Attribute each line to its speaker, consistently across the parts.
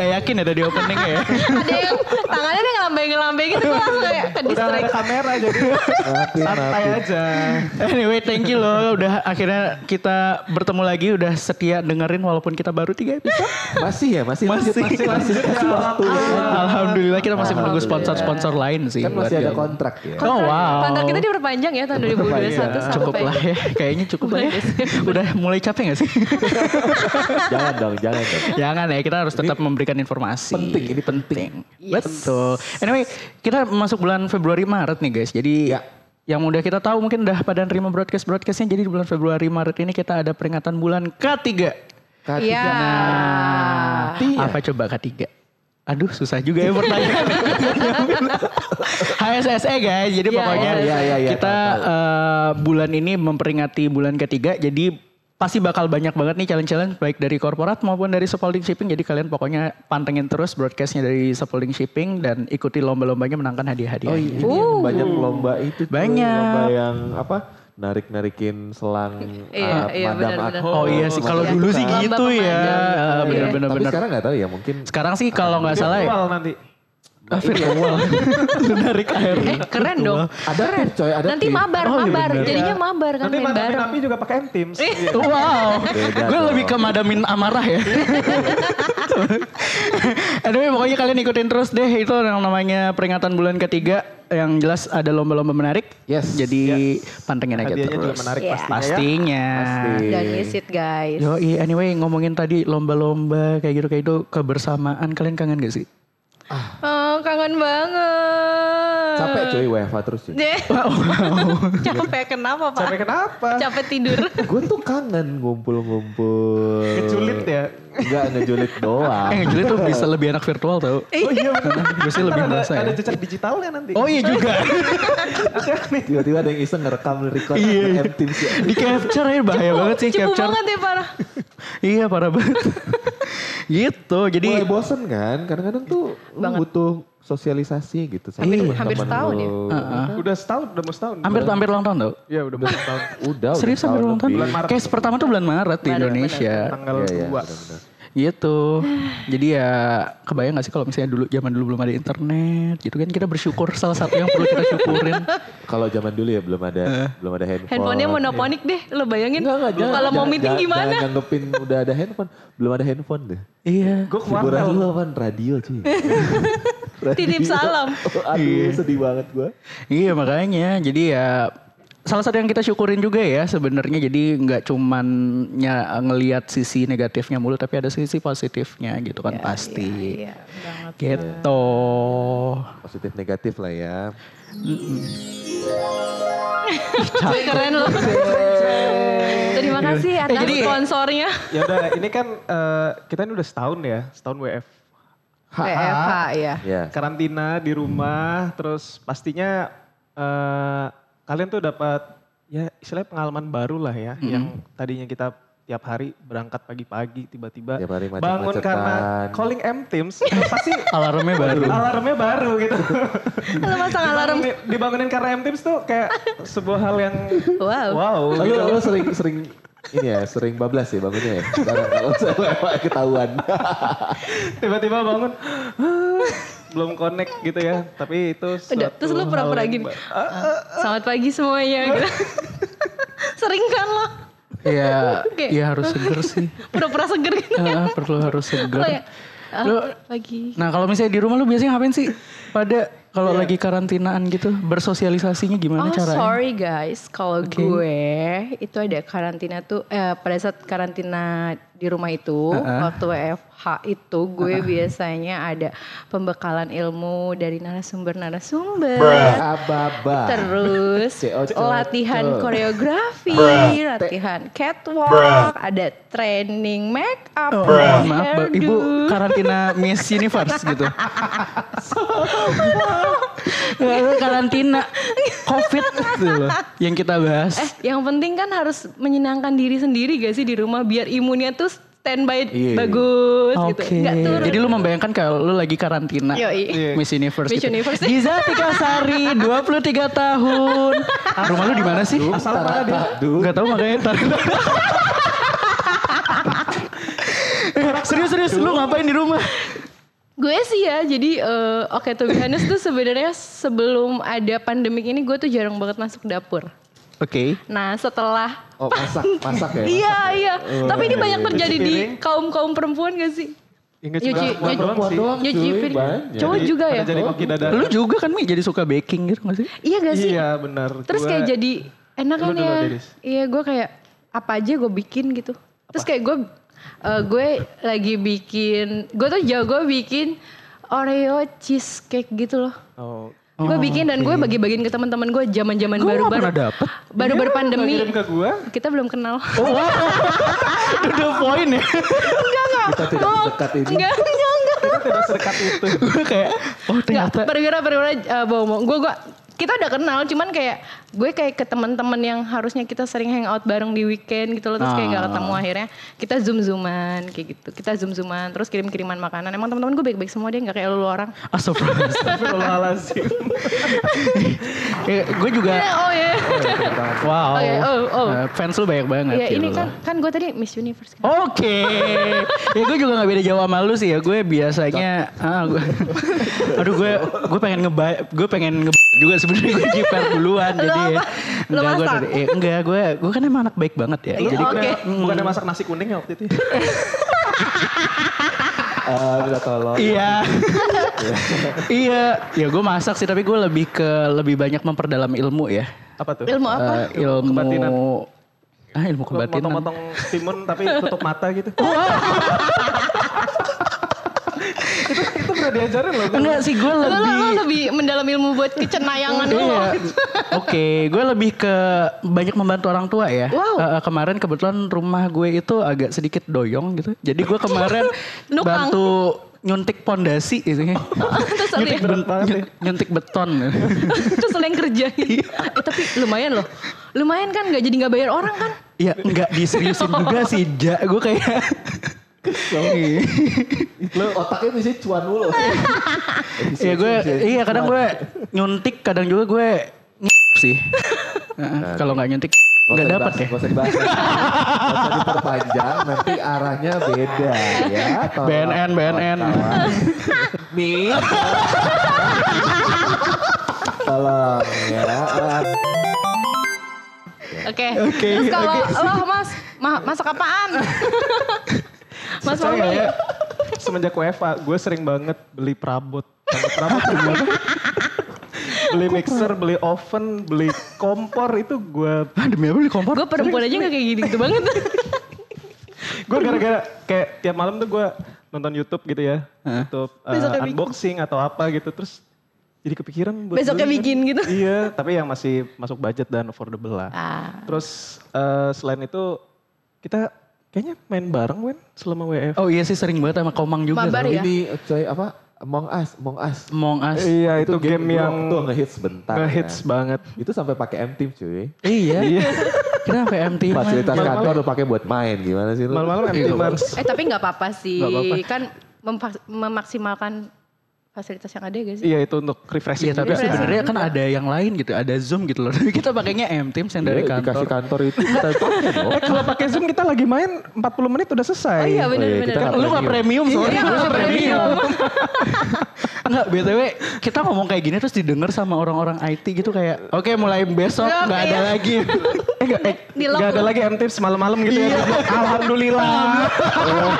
Speaker 1: Iya. dicuekin ya tadi openingnya ya.
Speaker 2: ada yang tangannya dia ngelambeng-ngelambeng gitu gue langsung kayak ke
Speaker 1: Udah nggak ada
Speaker 2: distract
Speaker 1: kamera jadi
Speaker 3: Maafin,
Speaker 1: santai
Speaker 3: maafin.
Speaker 1: aja. Anyway, thank you loh udah akhirnya kita bertemu lagi udah setia dengerin walaupun kita baru tiga episode.
Speaker 3: Masih ya, masih lanjut,
Speaker 1: Masih.
Speaker 3: masih lanjut. Masih waktu.
Speaker 1: Alhamdulillah kita masih menunggu sponsor-sponsor lain sih.
Speaker 3: Kan masih ada
Speaker 1: Berarti.
Speaker 3: kontrak ya.
Speaker 1: Oh, wow.
Speaker 2: Kontrak kita diperpanjang ya tahun 2021 sampai
Speaker 1: Iya, cukup lah ya, kayaknya cukup lah ya. Udah mulai capek gak sih?
Speaker 4: jangan dong, jangan dong.
Speaker 1: Jangan ya, kita harus tetap memberikan informasi.
Speaker 3: penting, ini
Speaker 1: penting. Betul. Anyway, kita masuk bulan Februari Maret nih guys. Jadi
Speaker 3: Ya.
Speaker 1: yang udah kita tahu mungkin udah pada nerima broadcast broadcastnya. Jadi di bulan Februari Maret ini kita ada peringatan bulan ketiga.
Speaker 3: Kak,
Speaker 2: Iya.
Speaker 1: Nah,
Speaker 3: Iya.
Speaker 1: apa coba ketiga? Aduh, susah juga ya pertanyaan. HSSE E, guys, jadi
Speaker 2: Iya,
Speaker 1: pokoknya
Speaker 3: iya, iya, iya,
Speaker 1: kita eh, bulan ini memperingati bulan ketiga, jadi pasti bakal banyak banget nih challenge-challenge baik dari korporat maupun dari Sepolding Shipping. Jadi kalian pokoknya pantengin terus broadcastnya dari Sepolding Shipping dan ikuti lomba-lombanya menangkan hadiah-hadiah.
Speaker 3: Oh iya, ini yang
Speaker 2: Uh.
Speaker 3: banyak lomba itu. tuh,
Speaker 1: Banyak.
Speaker 3: Lomba yang apa? Narik-narikin selang
Speaker 2: Iya,
Speaker 3: ah,
Speaker 2: iya,
Speaker 3: madam
Speaker 2: benar-benar.
Speaker 3: aku.
Speaker 1: Oh iya sih, kalau
Speaker 3: Iya.
Speaker 1: dulu sih
Speaker 2: Lomba
Speaker 1: gitu ya,
Speaker 2: pemanjang. Iya.
Speaker 1: bener-bener.
Speaker 3: Tapi
Speaker 1: bener.
Speaker 3: sekarang nggak tahu ya mungkin.
Speaker 1: Sekarang sih kalau nggak salah ya,
Speaker 4: Virtual nanti.
Speaker 1: Ah, virtual, Lu narik air.
Speaker 2: Eh keren dong.
Speaker 3: Ada tip coy, ada
Speaker 2: Nanti
Speaker 3: tip.
Speaker 2: mabar,
Speaker 1: Oh, Gitu. iya
Speaker 2: mabar.
Speaker 1: bener.
Speaker 2: Jadinya mabar kan
Speaker 4: Nanti
Speaker 2: main
Speaker 4: madamin
Speaker 2: bareng.
Speaker 4: tapi juga pakai M Teams. Iya.
Speaker 1: Wow,
Speaker 3: Beda
Speaker 1: gue
Speaker 3: dong.
Speaker 1: lebih ke madamin amarah ya. anyway, pokoknya kalian ikutin terus deh. Itu yang namanya peringatan bulan ketiga. Yang jelas ada lomba-lomba menarik.
Speaker 3: Yes.
Speaker 1: Jadi pantengin aja
Speaker 4: Hadiahnya
Speaker 1: terus.
Speaker 4: juga menarik
Speaker 2: Iya.
Speaker 4: pastinya ya.
Speaker 1: Pastinya.
Speaker 3: Pasti.
Speaker 2: Dan
Speaker 1: Iya.
Speaker 2: is it guys.
Speaker 1: Yo, anyway ngomongin tadi lomba-lomba kayak gitu kayak itu kebersamaan kalian kangen gak sih?
Speaker 2: Oh, kangen banget.
Speaker 3: Capek coy WFA terus coy.
Speaker 2: Deh. Capek kenapa, Pak?
Speaker 4: Sampai kenapa?
Speaker 2: Capek tidur.
Speaker 3: Gue tuh kangen ngumpul-ngumpul.
Speaker 4: Keculit ya.
Speaker 3: Nggak ngejulit doang.
Speaker 1: Eh ngejelit tuh bisa lebih enak virtual tau.
Speaker 4: Oh iya benar.
Speaker 1: Gue sih lebih
Speaker 4: Ntar ada,
Speaker 1: merasa ya.
Speaker 4: ada jejak digitalnya nanti.
Speaker 1: Oh iya juga.
Speaker 4: Ada nih.
Speaker 3: Tiba-tiba ada yang iseng ngerekam record
Speaker 1: Iya, iya.
Speaker 3: M Teams ya.
Speaker 1: Di capture ya bahaya banget sih
Speaker 2: Cepu
Speaker 1: capture.
Speaker 2: banget ya, parah.
Speaker 1: Iya parah banget. gitu. Jadi
Speaker 3: Mulai bosen kan, kadang-kadang tuh lu butuh sosialisasi gitu. sama
Speaker 2: Hampir-
Speaker 3: temen-temen
Speaker 2: hampir setahun ya?
Speaker 3: lu.
Speaker 4: Udah setahun, udah mau setahun.
Speaker 1: hampir hampir ulang tahun tau.
Speaker 4: Iya udah mau setahun.
Speaker 3: Udah, udah
Speaker 1: Serius hampir
Speaker 3: setahun
Speaker 1: ulang tahun.
Speaker 3: lebih.
Speaker 4: Bulan Maret.
Speaker 1: Case pertama tuh bulan Maret di Indonesia.
Speaker 4: Tanggal
Speaker 3: Iya, iya,
Speaker 4: 2.
Speaker 3: benar-benar.
Speaker 1: Gitu. Jadi ya kebayang gak sih kalau misalnya dulu zaman dulu belum ada internet gitu kan kita bersyukur salah satu yang perlu kita syukurin.
Speaker 3: Kalau zaman dulu ya belum ada
Speaker 1: Eh.
Speaker 3: belum ada handphone.
Speaker 2: Handphonenya
Speaker 1: iya.
Speaker 2: monoponik deh. Lo bayangin.
Speaker 3: Enggak, enggak, jangan-
Speaker 2: Kalau mau
Speaker 3: jangan-
Speaker 2: meeting
Speaker 3: jangan-
Speaker 2: gimana?
Speaker 3: Jangan nganggepin udah ada handphone. Belum ada handphone deh.
Speaker 1: iya.
Speaker 4: Gue ke
Speaker 3: Hiburan
Speaker 4: wartel.
Speaker 3: lu apaan? Radio cuy. Radio.
Speaker 2: Titip salam.
Speaker 3: Aduh sedih banget gua.
Speaker 1: Iya makanya. Jadi ya salah satu yang kita syukurin juga ya sebenarnya jadi nggak cuman nya- ngelihat sisi negatifnya mulu tapi ada sisi positifnya gitu kan pasti.
Speaker 2: Iya, Ya, banget.
Speaker 1: Gitu.
Speaker 3: Positif negatif lah ya.
Speaker 2: Cuy, keren lo. Terima kasih atas
Speaker 1: Iya. Eh, jadi-
Speaker 2: sponsornya.
Speaker 4: Ya udah, ini kan eh, kita ini udah setahun ya, setahun WF.
Speaker 2: WFH
Speaker 1: Ah,
Speaker 2: ya.
Speaker 3: Ya.
Speaker 4: Karantina di rumah, terus pastinya eh, kalian tuh dapat ya istilahnya pengalaman baru lah ya,
Speaker 3: Hmm.
Speaker 4: yang tadinya kita tiap hari berangkat pagi-pagi tiba-tiba
Speaker 3: Tiap hari
Speaker 4: bangun karena
Speaker 3: macet-macetan.
Speaker 4: calling M Teams itu pasti
Speaker 1: Alarmnya baru.
Speaker 4: alarmnya baru gitu.
Speaker 2: Lo pasang alarm.
Speaker 4: Dibangunin, dibangunin karena M Teams tuh kayak sebuah hal yang
Speaker 2: Wow.
Speaker 4: wow.
Speaker 3: Lalu
Speaker 4: gitu.
Speaker 3: lu sering sering ini ya sering bablas ya bangunnya ya. Karena kalau saya WFH ketahuan.
Speaker 4: Tiba-tiba bangun "Ah, belum connect gitu ya. Tapi itu
Speaker 2: Udah,
Speaker 4: suatu
Speaker 2: terus lu
Speaker 4: hal
Speaker 2: pura-pura
Speaker 4: yang
Speaker 2: gini.
Speaker 4: ba-
Speaker 3: Ah,
Speaker 2: Selamat pagi semuanya. gitu. Sering kan lo.
Speaker 1: Iya,
Speaker 2: Oke.
Speaker 1: iya harus seger sih.
Speaker 2: Pura-pura seger gitu.
Speaker 1: Ah, perlu harus
Speaker 2: Lo ya.
Speaker 1: seger.
Speaker 2: ah,
Speaker 1: Lo,
Speaker 2: pagi.
Speaker 1: nah kalau misalnya di rumah lu biasanya ngapain sih? Pada kalau lagi karantinaan gitu, bersosialisasinya gimana
Speaker 2: Iya. Oh
Speaker 1: caranya?
Speaker 2: sorry guys, kalau gue itu ada karantina tuh eh, pada saat karantina di rumah itu waktu WFH itu gue biasanya ada pembekalan ilmu dari narasumber-narasumber.
Speaker 3: Ababa.
Speaker 2: Terus
Speaker 3: CO, CO,
Speaker 2: latihan
Speaker 3: CO.
Speaker 2: koreografi, latihan catwalk, ada training make up,
Speaker 1: Oh, mohon maaf, Mbak. ibu karantina Miss Universe gitu. Nggak, lu karantina COVID gitu loh, yang kita bahas.
Speaker 2: Eh, yang penting kan harus menyenangkan diri sendiri gak sih di rumah biar imunnya tuh standby
Speaker 3: Iya.
Speaker 2: bagus gitu.
Speaker 1: Oke.
Speaker 2: Enggak turun.
Speaker 1: Jadi lu membayangkan kalau lu lagi karantina
Speaker 2: Yoi.
Speaker 1: Miss Universe.
Speaker 2: Miss
Speaker 1: gitu.
Speaker 2: Universe.
Speaker 1: Giza Tikasari, 23 tahun. Rumah lu di mana sih?
Speaker 4: Asal mana dia?
Speaker 3: Aduh.
Speaker 1: Gak tau makanya ntar. serius serius lu ngapain di rumah?
Speaker 2: Gue sih ya, jadi eh, oke tuh to be honest tuh sebenarnya sebelum ada pandemik ini gue tuh jarang banget masuk dapur.
Speaker 1: Oke.
Speaker 2: Nah setelah
Speaker 3: Oh masak, masak ya?
Speaker 2: Iya
Speaker 3: masak ya?
Speaker 2: iya, tapi ini
Speaker 3: iya,
Speaker 2: banyak
Speaker 3: iya.
Speaker 2: terjadi
Speaker 4: Cuci
Speaker 2: di
Speaker 4: piring.
Speaker 2: kaum kaum perempuan gak sih?
Speaker 4: Ingat
Speaker 2: Nyuci-
Speaker 4: cuma
Speaker 2: nyuci-
Speaker 4: perempuan
Speaker 3: Perempuan
Speaker 4: sih.
Speaker 3: doang
Speaker 2: Nyuci
Speaker 3: cuy,
Speaker 2: piring.
Speaker 3: banyak.
Speaker 2: Cowok juga ya?
Speaker 4: Pada Jadi koki dadar.
Speaker 1: Lu juga kan Mi jadi suka baking gitu gak sih?
Speaker 2: Iya gak sih?
Speaker 4: Iya benar.
Speaker 2: Terus
Speaker 4: Gua-
Speaker 2: kayak jadi enak
Speaker 4: Lu
Speaker 2: kan
Speaker 4: dulu,
Speaker 2: ya.
Speaker 4: Dedis.
Speaker 2: Iya gue kayak apa aja gue bikin gitu. Terus kayak gue eh, gue lagi bikin gue tuh jago bikin Oreo cheesecake gitu loh.
Speaker 4: Oh.
Speaker 2: Gue bikin dan gue bagi-bagiin ke teman-teman gue zaman-zaman
Speaker 1: Gua
Speaker 2: baru
Speaker 1: nggak
Speaker 2: baru
Speaker 1: pernah dapet.
Speaker 2: baru baru
Speaker 4: Iya,
Speaker 2: pandemi.
Speaker 4: nggak Kirim ke gua.
Speaker 2: Kita belum kenal.
Speaker 1: To the point ya.
Speaker 3: Kita tidak dekat ini.
Speaker 2: enggak, enggak, enggak.
Speaker 4: Kita tidak sedekat itu.
Speaker 1: Gue kayak oh ternyata
Speaker 2: perwira perwira eh, bohong gue gue kita udah kenal cuman kayak gue kayak ke teman-teman yang harusnya kita sering hangout bareng di weekend gitu loh terus kayak
Speaker 1: Ah.
Speaker 2: nggak ketemu akhirnya kita zoom zooman kayak gitu kita zoom zooman terus kirim kiriman makanan emang teman-teman gue baik-baik semua deh nggak kayak lu orang
Speaker 1: astagfirullah.
Speaker 4: Astagfirullahaladzim.
Speaker 1: Ya, gue juga
Speaker 2: Eh, oh ya
Speaker 1: wow.
Speaker 2: Oke, oh, oh.
Speaker 1: Eh, fans lu Oh. banyak banget
Speaker 2: ya ini
Speaker 1: gitu.
Speaker 2: kan kan gue tadi Miss Universe kan
Speaker 1: Oke, ya gue juga gak beda jauh sama lu sih ya. Gue biasanya, ah, gue, aduh gue, gue pengen ngeba, gue pengen nge juga sebenarnya gue jiper duluan.
Speaker 2: Lu
Speaker 1: jadi ya.
Speaker 2: apa? Lu
Speaker 1: enggak gue,
Speaker 2: masak?
Speaker 1: dari- eh, enggak gue, gue kan emang anak baik banget ya.
Speaker 2: Iya,
Speaker 1: Jadi gue-
Speaker 2: Oke.
Speaker 4: Bukannya masak nasi kuning ya waktu itu.
Speaker 3: Eh, minta tolong.
Speaker 1: Iya, iya, ya gue masak sih tapi gue lebih ke lebih banyak memperdalam ilmu ya.
Speaker 4: Apa tuh?
Speaker 2: ilmu apa
Speaker 1: Eh, ilmu
Speaker 4: Kebatinan.
Speaker 1: ah ilmu
Speaker 4: Lu
Speaker 1: kebatinan.
Speaker 4: Motong-motong timun tapi tutup mata gitu. itu itu pernah diajarin loh.
Speaker 1: Enggak sih gue
Speaker 2: Lu- lu,
Speaker 1: lebih.
Speaker 2: lu lebih mendalam ilmu buat kecenayangan lu
Speaker 1: Iya. Oke, gue lebih ke banyak membantu orang tua ya.
Speaker 2: Wow.
Speaker 1: Eh, eh, kemarin kebetulan rumah gue itu agak sedikit doyong gitu. Jadi gue kemarin
Speaker 2: Nukang. Oh,
Speaker 1: bantu nyuntik pondasi gitu.
Speaker 2: terus lu
Speaker 1: nyuntik,
Speaker 2: yang-
Speaker 1: ben- nyun- nyuntik beton.
Speaker 2: terus lu yang kerjain
Speaker 1: Iya.
Speaker 2: eh, tapi lumayan loh lumayan kan nggak jadi nggak bayar orang kan
Speaker 1: ya nggak diseriusin juga sih, Ja. Gue kayak
Speaker 3: Lu otaknya mesti cuan mulu.
Speaker 1: Iya gue, iya kadang gue
Speaker 3: Nah.
Speaker 1: nyuntik, kadang juga gue nyip sih. Nah, Kalau nggak nyuntik nggak dapat ya.
Speaker 3: Gak usah dibahas. Gak usah diperpanjang, nanti arahnya beda ya. Tolong
Speaker 1: BNN, BNN.
Speaker 3: kawan-kawan. Mi. Tolong ya. Ah,
Speaker 2: Oke. Terus kalau lo mas, ma- masak apaan? mas
Speaker 4: Percaya
Speaker 2: Fahmi.
Speaker 4: ya? Semenjak WFA, gue sering banget beli perabot. Sama perabot gimana? beli mixer, beli oven, beli kompor itu gue
Speaker 1: Ah, demi apa beli kompor?
Speaker 2: Gue perempuan aja gak kayak gini gitu banget.
Speaker 4: gue gara-gara kayak tiap malam tuh gue nonton YouTube gitu ya, YouTube eh,
Speaker 2: Besoknya bikin.
Speaker 4: unboxing atau apa gitu terus jadi kepikiran buat
Speaker 2: Besoknya
Speaker 4: beli kan.
Speaker 2: bikin gitu.
Speaker 4: Iya, tapi yang masih masuk budget dan affordable lah.
Speaker 2: Ah.
Speaker 4: Terus eh, selain itu kita kayaknya main bareng Wen selama WF.
Speaker 1: Oh iya sih sering banget sama Komang juga.
Speaker 2: Mabar
Speaker 1: tau.
Speaker 2: ya?
Speaker 3: Ini coy apa? Among Us, Among Us.
Speaker 1: Among Us.
Speaker 4: Iya, itu, game,
Speaker 3: dulu
Speaker 4: yang
Speaker 3: waktu ngehits bentar.
Speaker 4: ngehits
Speaker 3: ya.
Speaker 4: banget.
Speaker 3: Itu sampai pakai M Team cuy.
Speaker 1: Iya. Kenapa MT?
Speaker 3: Fasilitas kantor lu pakai buat main gimana sih lu?
Speaker 4: Iya, Malam-malam
Speaker 1: Iya,
Speaker 4: empty
Speaker 1: nggak
Speaker 4: mars.
Speaker 2: eh tapi gak apa-apa sih.
Speaker 1: Nggak apa-apa.
Speaker 2: Kan memfak- memaksimalkan fasilitas yang ada gak sih?
Speaker 4: Iya itu untuk refreshing
Speaker 1: Iya tapi
Speaker 4: juga.
Speaker 1: sebenarnya kan ada yang lain gitu, ada Zoom gitu loh. Tapi kita pakainya M Teams yang dari
Speaker 3: Iya, Dikasih kantor
Speaker 1: kantor.
Speaker 3: itu kita pakai dong.
Speaker 4: Eh kalau pakai Zoom kita lagi main 40 menit udah selesai.
Speaker 2: Oh iya
Speaker 3: Oh iya,
Speaker 2: bener-bener.
Speaker 3: kita nggak
Speaker 1: Lu nggak premium sorry,
Speaker 2: Iya,
Speaker 1: lu
Speaker 2: nggak
Speaker 1: nggak premium.
Speaker 2: premium.
Speaker 1: Enggak, btw kita ngomong kayak gini terus didengar sama orang-orang IT gitu kayak, oke mulai besok
Speaker 2: Nggak,
Speaker 1: nggak ada
Speaker 2: iya.
Speaker 1: lagi.
Speaker 4: Eh, nggak- eh,
Speaker 2: Di lock
Speaker 4: nggak ada
Speaker 2: lu.
Speaker 4: lagi M tips malam-malam gitu ya.
Speaker 3: Iya.
Speaker 4: Alhamdulillah.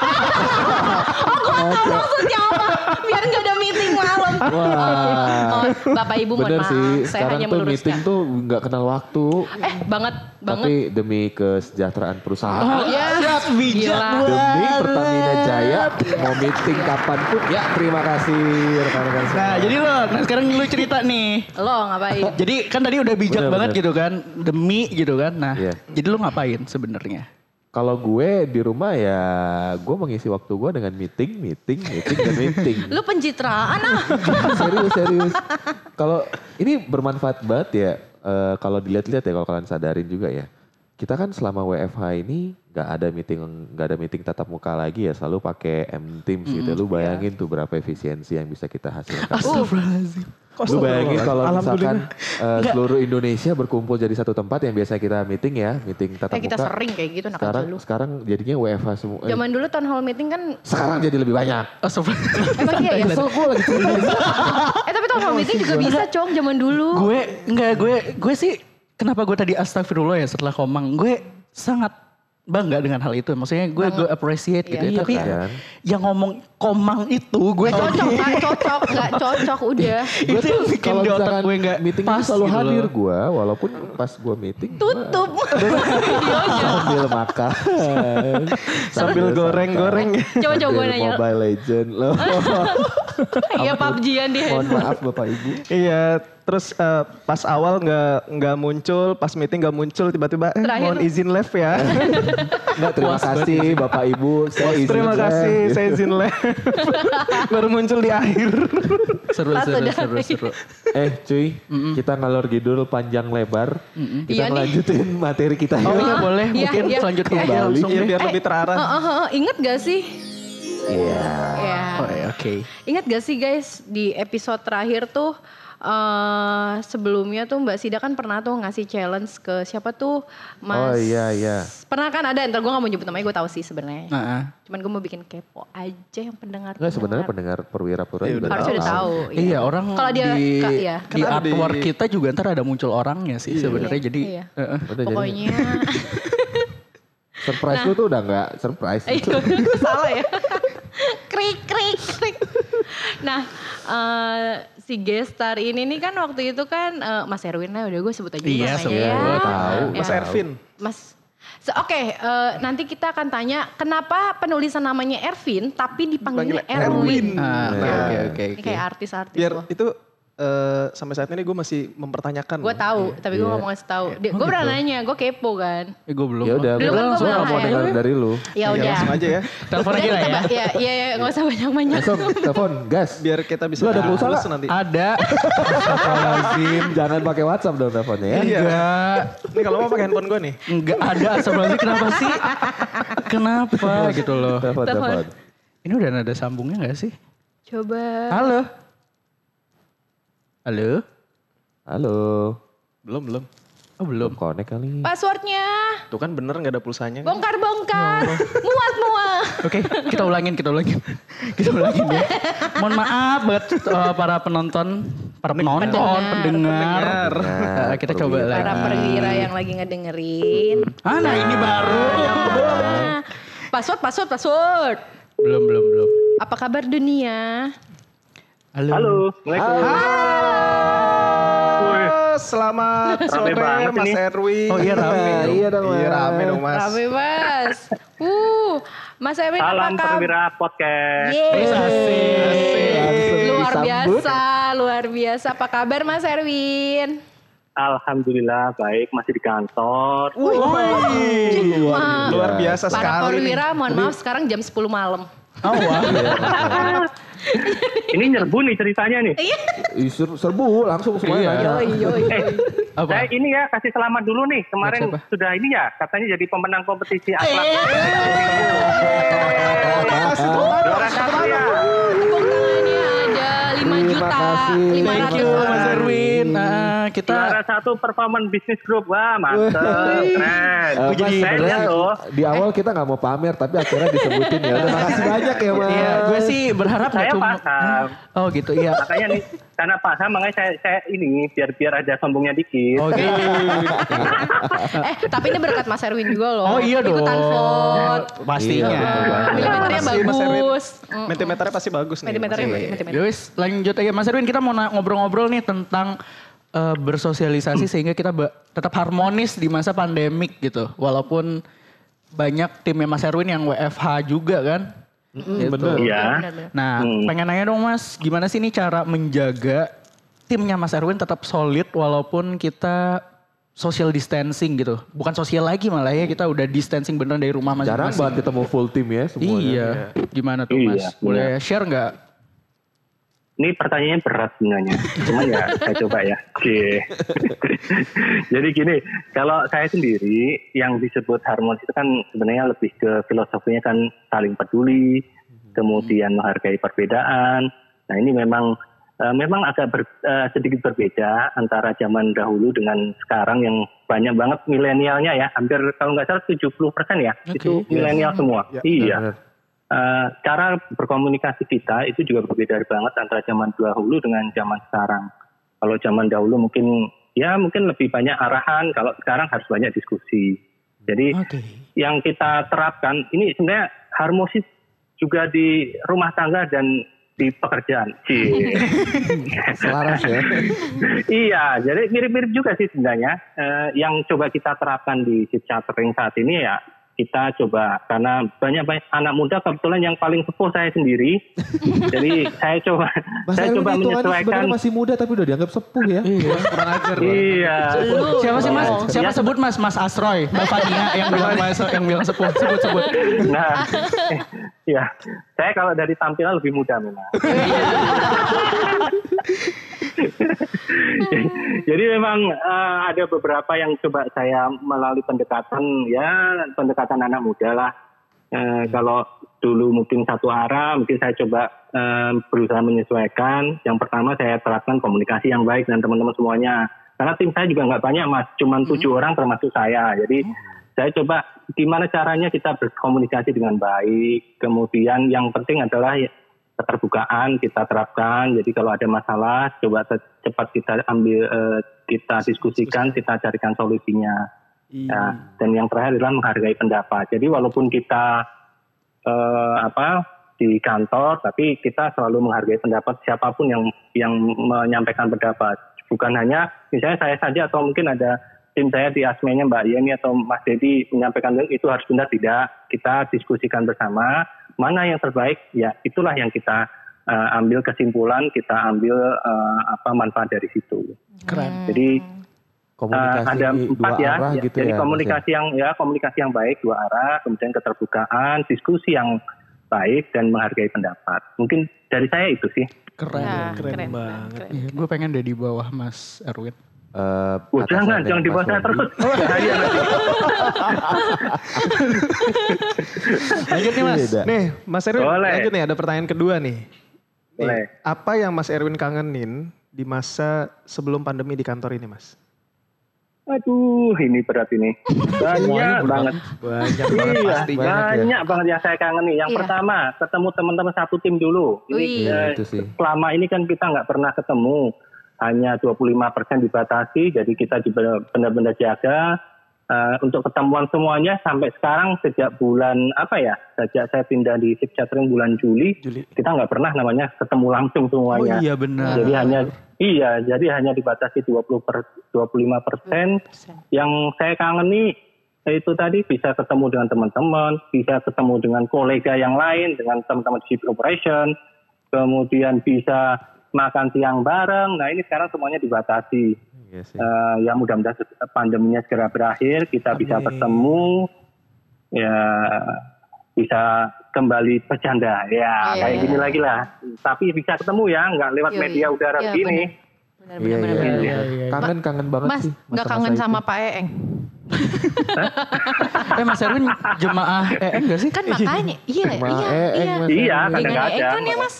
Speaker 2: Tahu Oh, maksudnya apa? Biar gak ada meeting malam.
Speaker 3: Wah.
Speaker 2: Oh, Bapak Ibu mohon
Speaker 3: Bener
Speaker 2: maaf.
Speaker 3: sih,
Speaker 2: saya
Speaker 3: sekarang
Speaker 2: hanya
Speaker 3: tuh meeting
Speaker 2: meluruskan.
Speaker 3: tuh nggak kenal waktu.
Speaker 2: Eh banget, banget.
Speaker 3: Tapi Iya. demi kesejahteraan
Speaker 4: Ah,
Speaker 3: perusahaan.
Speaker 2: Iya.
Speaker 1: Siap, bijak
Speaker 2: Gila.
Speaker 1: banget.
Speaker 3: Demi Pertamina Jaya, mau meeting kapanpun. Ya, terima kasih rekan-rekan semua.
Speaker 1: Nah jadi lo, nah sekarang lu cerita nih.
Speaker 2: Lo ngapain?
Speaker 1: Jadi kan tadi udah bijak
Speaker 3: Bener,
Speaker 1: banget
Speaker 3: bener.
Speaker 1: gitu kan, demi gitu kan. Nah,
Speaker 3: Iya.
Speaker 1: jadi lu ngapain sebenarnya?
Speaker 3: Kalau gue di rumah ya, gue mengisi waktu gue dengan meeting, meeting, meeting, dan meeting.
Speaker 2: Lu pencitraan ah.
Speaker 3: serius, serius. Kalau ini bermanfaat banget ya, eh, kalau dilihat-lihat ya, kalau kalian sadarin juga ya. Kita kan selama WFH ini nggak ada meeting, nggak ada meeting tatap muka lagi
Speaker 2: Hmm, iya.
Speaker 3: ya, selalu pakai M Teams gitu. Lu bayangin tuh berapa efisiensi yang bisa kita hasilkan.
Speaker 1: Astagfirullahaladzim.
Speaker 3: Lu bayangin kalau misalkan
Speaker 4: Alhamdulillah.
Speaker 3: eh, seluruh Indonesia berkumpul jadi satu tempat yang biasanya kita meeting ya, meeting tatap
Speaker 2: Kayak kita
Speaker 3: muka.
Speaker 2: sering kayak gitu anak
Speaker 3: sekarang
Speaker 2: kecil lu.
Speaker 3: sekarang jadinya WFH semua. eh,
Speaker 2: Zaman dulu town hall meeting kan
Speaker 3: sekarang jadi lebih banyak.
Speaker 1: Oh, sebelum-
Speaker 2: emang iya ya.
Speaker 3: Kesel gue lagi cerita.
Speaker 2: Eh tapi town hall meeting juga bisa cong zaman dulu.
Speaker 1: gue enggak gue gue sih kenapa gue tadi astagfirullah ya setelah komang gue sangat bangga dengan hal itu maksudnya gue gue appreciate gitu
Speaker 2: Iya.
Speaker 1: ya tapi
Speaker 3: kan?
Speaker 1: yang ngomong komang itu gue
Speaker 2: Cocok
Speaker 1: jadi-
Speaker 2: nggak cocok nggak cocok udah.
Speaker 1: itu yang bikin
Speaker 3: Kalau
Speaker 1: di otak
Speaker 3: misalkan
Speaker 1: gue nggak
Speaker 3: meeting
Speaker 1: pas
Speaker 3: itu selalu
Speaker 1: gitu
Speaker 3: hadir
Speaker 1: loh.
Speaker 3: gue, walaupun pas gue meeting gua
Speaker 2: Tutup. iya.
Speaker 3: sambil makan,
Speaker 4: Sambil goreng-goreng.
Speaker 2: Coba-coba
Speaker 3: sambil
Speaker 2: gue nanya.
Speaker 3: Mobile Legend loh.
Speaker 2: Iya PUBG-an di
Speaker 3: Mohon maaf bapak ibu.
Speaker 4: Iya, terus eh, pas awal nggak nggak muncul, pas meeting nggak muncul, tiba-tiba eh,
Speaker 2: Terakhir-
Speaker 4: mohon izin left ya.
Speaker 3: Enggak, terima kasih bapak ibu. Saya Oh, izin
Speaker 4: Terima
Speaker 3: saya.
Speaker 4: kasih, saya izin left. Baru muncul di akhir.
Speaker 1: seru
Speaker 2: Pas
Speaker 1: seru
Speaker 2: udah
Speaker 1: seru seru
Speaker 3: Eh cuy, kita ngalor gidul panjang lebar. Kita
Speaker 2: Iya nih.
Speaker 3: ngelanjutin materi kita ya.
Speaker 1: oh iya boleh
Speaker 2: Iya,
Speaker 1: mungkin
Speaker 2: iya.
Speaker 1: selanjutnya aja
Speaker 3: Kembali.
Speaker 1: langsung
Speaker 4: Iya,
Speaker 1: deh
Speaker 2: Eh,
Speaker 4: biar lebih terarah.
Speaker 2: Heeh, heeh, eh. ingat gak sih?
Speaker 3: Iya.
Speaker 2: Ya.
Speaker 1: Oh, iya, oke
Speaker 2: Ingat gak sih guys di episode terakhir tuh eh sebelumnya tuh Mbak Sida kan pernah tuh ngasih challenge ke siapa tuh Mas
Speaker 3: Oh iya iya.
Speaker 2: Pernah kan ada, ntar gue gak mau nyebut namanya, gue tahu sih sebenarnya.
Speaker 1: Nah, ah.
Speaker 2: Cuman gue mau bikin kepo aja yang pendengar.
Speaker 3: Enggak sebenarnya pendengar perwira perwira juga
Speaker 2: Harusnya udah tahu.
Speaker 1: Iya orang
Speaker 2: Kalau dia,
Speaker 1: di,
Speaker 2: Kak, ya.
Speaker 1: di artwork kita juga ntar ada muncul orangnya sih sebenarnya
Speaker 2: Iya,
Speaker 1: jadi
Speaker 2: iya.
Speaker 1: eh, eh.
Speaker 3: Udah jadi
Speaker 2: Pokoknya, Nah.
Speaker 3: surprise lu tuh udah enggak surprise. gitu.
Speaker 2: Eh, gue salah ya. krik, krik, krik. Nah, eh, si gestar ini nih kan waktu itu kan eh, Mas Erwin lah, udah gue sebut aja
Speaker 1: Iya,
Speaker 2: namanya
Speaker 1: sebut.
Speaker 2: ya.
Speaker 3: Gua tahu.
Speaker 4: Mas
Speaker 2: Ya.
Speaker 4: Ervin.
Speaker 2: Mas, so, oke eh, nanti kita akan tanya kenapa penulisan namanya Ervin tapi dipanggilnya
Speaker 4: Dipanggil
Speaker 2: Erwin. Iya.
Speaker 1: Ah, oke
Speaker 3: Nah.
Speaker 1: oke oke
Speaker 2: Ini kayak artis-artis
Speaker 4: Biar
Speaker 2: loh.
Speaker 4: itu eh, sampai saat ini gue masih mempertanyakan.
Speaker 2: Gue tahu,
Speaker 1: Iya.
Speaker 2: tapi gue nggak mau ngasih
Speaker 1: Oh
Speaker 2: tahu. Dia- gue
Speaker 1: gitu.
Speaker 2: pernah nanya, gue kepo kan.
Speaker 1: Eh, gue belum
Speaker 3: Ya udah,
Speaker 2: Dulu
Speaker 3: gue
Speaker 2: kan gua
Speaker 3: langsung
Speaker 2: bilang
Speaker 3: mau
Speaker 2: kayak-
Speaker 3: dengar dari lu.
Speaker 2: Ya
Speaker 4: Iya,
Speaker 2: udah.
Speaker 4: langsung aja ya.
Speaker 1: telepon aja lah
Speaker 2: kita
Speaker 1: ya
Speaker 2: ba- Ya, iya, iya, nggak usah banyak-banyak.
Speaker 3: Langsung telepon gas.
Speaker 4: Biar kita bisa
Speaker 3: Lu ada pulsa
Speaker 4: terus
Speaker 3: nggak?
Speaker 4: nanti.
Speaker 1: ada
Speaker 3: Astagfirullahaladzim, jangan pakai WhatsApp dong teleponnya ya.
Speaker 4: Iya.
Speaker 1: enggak
Speaker 4: Ini kalau mau pakai handphone gue nih.
Speaker 1: enggak ada sebenarnya kenapa sih kenapa gitu loh
Speaker 3: Telepon, telepon.
Speaker 1: ini udah ada sambungnya nggak sih
Speaker 2: Coba.
Speaker 1: halo halo
Speaker 3: Halo.
Speaker 4: Belum, belum.
Speaker 1: oh belum
Speaker 3: Connect kali.
Speaker 2: Passwordnya.
Speaker 4: Tuh kan bener nggak ada pulsanya. kan?
Speaker 2: Bongkar-bongkar. Muat-muat.
Speaker 1: Oke, kita ulangin, kita ulangin. Kita ulangin ya. Mohon maaf buat eh, para penonton, para penonton, pendengar.
Speaker 4: Pendengar.
Speaker 1: Eh, kita coba
Speaker 3: Perwira.
Speaker 1: lagi.
Speaker 2: Para perwira yang lagi ngedengerin.
Speaker 1: Ah, nah ini baru.
Speaker 2: Nah, password, password, password.
Speaker 1: Belum, belum, belum.
Speaker 2: Apa kabar dunia?
Speaker 1: Halo.
Speaker 4: Halo, selamat sore
Speaker 5: banget
Speaker 4: Mas
Speaker 5: ini.
Speaker 4: Erwin.
Speaker 1: Oh iya, rame.
Speaker 3: Nah, iya dong.
Speaker 4: Iya
Speaker 3: Mas.
Speaker 4: rame dong Mas.
Speaker 2: Rame mas. Uh, Mas Erwin
Speaker 5: Salam
Speaker 2: apa kabar?
Speaker 5: perwira podcast.
Speaker 2: Yeay.
Speaker 3: Langsung
Speaker 2: Luar
Speaker 3: disambut.
Speaker 2: biasa, luar biasa. Apa kabar Mas Erwin?
Speaker 5: Alhamdulillah baik masih di kantor.
Speaker 4: Wih,
Speaker 2: Wah,
Speaker 4: luar biasa
Speaker 2: Para
Speaker 4: sekali. nih.
Speaker 2: perwira, mohon maaf sekarang jam 10 malam.
Speaker 1: Oh, wah.
Speaker 5: Ini nyerbu nih ceritanya nih.
Speaker 3: Ih, ser- serbu langsung
Speaker 1: Iya.
Speaker 3: semuanya. nanya.
Speaker 2: Yoi, yoi.
Speaker 5: Eh,
Speaker 1: Apa?
Speaker 5: saya ini ya kasih selamat dulu nih. Kemarin
Speaker 1: Buat
Speaker 5: sudah ini ya katanya jadi pemenang kompetisi akhlak.
Speaker 4: Ah,
Speaker 2: Tepuk
Speaker 5: Dora Satria.
Speaker 2: tangannya Iya, ada 5
Speaker 3: Terima
Speaker 2: juta,
Speaker 3: kasih.
Speaker 1: Thank you,
Speaker 2: 500
Speaker 1: Mas
Speaker 2: orang.
Speaker 1: Erwin. Nah,
Speaker 5: Juara
Speaker 1: kita
Speaker 5: satu performance bisnis grup. Wah mantep. Keren.
Speaker 3: Eh, Mas,
Speaker 5: Saya
Speaker 3: sebenarnya
Speaker 5: lihat loh.
Speaker 3: di awal kita nggak mau pamer tapi akhirnya disebutin ya. Terima kasih banyak ya mas.
Speaker 1: Iya, gue sih berharap nggak
Speaker 5: Saya
Speaker 1: cuma.
Speaker 5: paham.
Speaker 1: Oh gitu, iya.
Speaker 5: Makanya nih karena paham makanya saya, saya ini biar biar ada sombongnya dikit.
Speaker 1: Oke.
Speaker 2: Eh, tapi ini berkat Mas Erwin juga loh.
Speaker 1: Oh iya dong.
Speaker 2: Ikutan vote.
Speaker 1: Pastinya.
Speaker 3: Iya, betul banget.
Speaker 2: Milimeternya
Speaker 4: Makasih, Mas Erwin.
Speaker 2: bagus. Mm,
Speaker 4: Mentimeternya pasti bagus nih.
Speaker 2: Mentimeternya
Speaker 4: Mas Erwin.
Speaker 2: bagus. mentimeter.
Speaker 1: Yowis, lanjut aja. Mas Erwin, kita mau na- ngobrol-ngobrol nih tentang eh, bersosialisasi sehingga kita ba- tetap harmonis di masa pandemik gitu. Walaupun banyak timnya Mas Erwin yang WFH juga kan. Gitu.
Speaker 3: bener.
Speaker 5: Iya.
Speaker 2: Benar-benar.
Speaker 1: Nah,
Speaker 5: Hmm.
Speaker 1: pengen nanya dong Mas, gimana sih nih cara menjaga timnya Mas Erwin tetap solid walaupun kita social distancing gitu. Bukan sosial lagi malah ya, kita udah distancing beneran dari rumah
Speaker 3: Jarang
Speaker 1: masing-masing.
Speaker 3: banget ketemu full team ya semuanya.
Speaker 1: Iya, gimana tuh Mas?
Speaker 5: Iya,
Speaker 1: Boleh share nggak?
Speaker 5: Ini pertanyaannya berat sebenarnya. Cuman ya saya coba ya. Oke. Jadi gini, kalau saya sendiri yang disebut harmonis itu kan sebenarnya lebih ke filosofinya kan saling peduli, kemudian menghargai perbedaan. Nah ini memang eh, memang agak ber- eh, sedikit berbeda antara zaman dahulu dengan sekarang yang banyak banget milenialnya ya, hampir kalau nggak salah 70% ya,
Speaker 1: Oke,
Speaker 5: itu
Speaker 1: yes.
Speaker 5: milenial semua.
Speaker 4: Ya,
Speaker 5: iya.
Speaker 3: Benar.
Speaker 5: Eh, cara berkomunikasi kita itu juga berbeda banget antara zaman dahulu dengan zaman sekarang. Kalau zaman dahulu mungkin ya mungkin lebih banyak arahan, kalau sekarang harus banyak diskusi. Jadi
Speaker 1: Oke.
Speaker 5: yang kita terapkan ini sebenarnya harmonis juga di rumah tangga dan di pekerjaan. Iya. Cie.
Speaker 3: Selaras ya.
Speaker 5: iya, jadi mirip-mirip juga sih sebenarnya. Eh, yang coba kita terapkan di shift chartering saat ini ya kita coba karena banyak banyak anak muda kebetulan yang paling sepuh saya sendiri. jadi saya coba
Speaker 3: Mas
Speaker 5: saya
Speaker 3: Erwin
Speaker 5: coba
Speaker 3: itu kan
Speaker 5: menyesuaikan.
Speaker 3: sebenarnya masih muda tapi udah dianggap sepuh ya.
Speaker 4: Kurang ajar.
Speaker 5: Iya.
Speaker 2: Lu.
Speaker 1: Siapa sih mas?
Speaker 5: Oh.
Speaker 1: Siapa
Speaker 5: Ya.
Speaker 1: sebut mas? Mas Asroy, Mbak Fatina yang bilang mas, yang bilang sebut, sebut, sebut.
Speaker 5: Nah, ya saya kalau dari tampilan lebih muda memang. Jadi memang eh, ada beberapa yang coba saya melalui pendekatan ya pendekatan anak muda lah. Eh, Kalau dulu mungkin satu arah, mungkin saya coba eh, berusaha menyesuaikan. Yang pertama saya terapkan komunikasi yang baik dan teman-teman semuanya. Karena tim saya juga nggak banyak mas, cuman tujuh orang termasuk saya. Jadi saya coba gimana caranya kita berkomunikasi dengan baik. Kemudian yang penting adalah ya, keterbukaan kita terapkan. Jadi kalau ada masalah, coba te- cepat kita ambil, eh, kita diskusikan, kita carikan solusinya. Ya, dan yang terakhir adalah menghargai pendapat. Jadi walaupun kita eh, apa di kantor, tapi kita selalu menghargai pendapat siapapun yang yang menyampaikan pendapat. Bukan hanya misalnya saya saja atau mungkin ada tim saya di asmennya Mbak Yeni atau Mas Dedi menyampaikan itu harus benar tidak. Kita diskusikan bersama mana yang terbaik ya itulah yang kita eh, ambil kesimpulan, kita ambil eh, apa manfaat dari situ.
Speaker 1: Keren.
Speaker 5: Jadi
Speaker 3: Komunikasi
Speaker 5: Eh, ada empat
Speaker 3: dua
Speaker 5: ya.
Speaker 3: arah
Speaker 5: Ya,
Speaker 3: gitu
Speaker 5: Jadi
Speaker 3: ya. Mas
Speaker 5: komunikasi yang ya komunikasi yang baik dua arah, kemudian keterbukaan, diskusi yang baik dan menghargai pendapat. Mungkin dari saya itu sih.
Speaker 1: Keren.
Speaker 2: Nah,
Speaker 4: Keren
Speaker 2: keren
Speaker 4: banget.
Speaker 2: keren.
Speaker 1: Iya, gue pengen deh di bawah Mas Erwin.
Speaker 3: Eh,
Speaker 5: Oh, jangan
Speaker 3: atasannya
Speaker 5: jangan
Speaker 3: Mas
Speaker 5: dibahas saya
Speaker 3: Wandi.
Speaker 5: terus. Bahaya nanti.
Speaker 4: Lanjut nih Mas.
Speaker 3: Beda.
Speaker 4: Nih, Mas Erwin
Speaker 5: Boleh.
Speaker 4: lanjut nih ada pertanyaan kedua nih. Nih,
Speaker 5: Boleh.
Speaker 4: Apa yang Mas Erwin kangenin di masa sebelum pandemi di kantor ini Mas?
Speaker 5: Aduh, ini berat ini. Banyak banget.
Speaker 4: Banyak banget
Speaker 5: Iya,
Speaker 3: ya.
Speaker 4: pastinya.
Speaker 5: banyak banget yang saya kangen nih. Yang
Speaker 2: Iya.
Speaker 5: pertama, ketemu teman-teman satu tim dulu. Ini
Speaker 2: Wih.
Speaker 3: Iya,
Speaker 5: eh,
Speaker 3: itu sih.
Speaker 5: selama ini kan kita nggak pernah ketemu. Hanya 25% dibatasi, jadi kita juga benar-benar jaga. Eh, untuk ketemuan semuanya sampai sekarang sejak bulan apa ya? Sejak saya pindah di Sip Catering bulan Juli,
Speaker 4: Juli.
Speaker 5: kita nggak pernah namanya ketemu langsung semuanya.
Speaker 1: iya benar.
Speaker 5: Jadi hanya iya, jadi hanya dibatasi 20 per 25
Speaker 2: Iya,
Speaker 5: yang saya kangen nih itu tadi bisa ketemu dengan teman-teman, bisa ketemu dengan kolega yang lain, dengan teman-teman di shift operation, kemudian bisa makan siang bareng. Nah ini sekarang semuanya dibatasi.
Speaker 3: Iya sih.
Speaker 5: Eh, ya mudah-mudahan pandeminya segera berakhir, kita bisa
Speaker 4: Amin.
Speaker 5: bertemu, ya bisa kembali bercanda. Ya
Speaker 2: Iya.
Speaker 5: kayak gini lagi lah. Tapi bisa ketemu ya, nggak lewat
Speaker 2: Yoi.
Speaker 5: media udara
Speaker 2: Iya,
Speaker 5: begini.
Speaker 2: Benar
Speaker 3: Iya,
Speaker 2: benar benar.
Speaker 3: iya,
Speaker 2: benar.
Speaker 3: iya. Kangen kangen banget
Speaker 2: Mas,
Speaker 3: sih.
Speaker 2: nggak
Speaker 3: masa-masa
Speaker 2: kangen
Speaker 3: itu.
Speaker 2: sama Pak Eeng?
Speaker 1: Eh Mas Erwin jemaah EM gak sih?
Speaker 2: Kan makanya, iya, iya, iya.
Speaker 3: Sama Eeng, eh, Mas
Speaker 5: Iya,
Speaker 3: Erwin.
Speaker 2: Dengan
Speaker 5: kadang-kadang.
Speaker 2: Eeng kan ya Mas,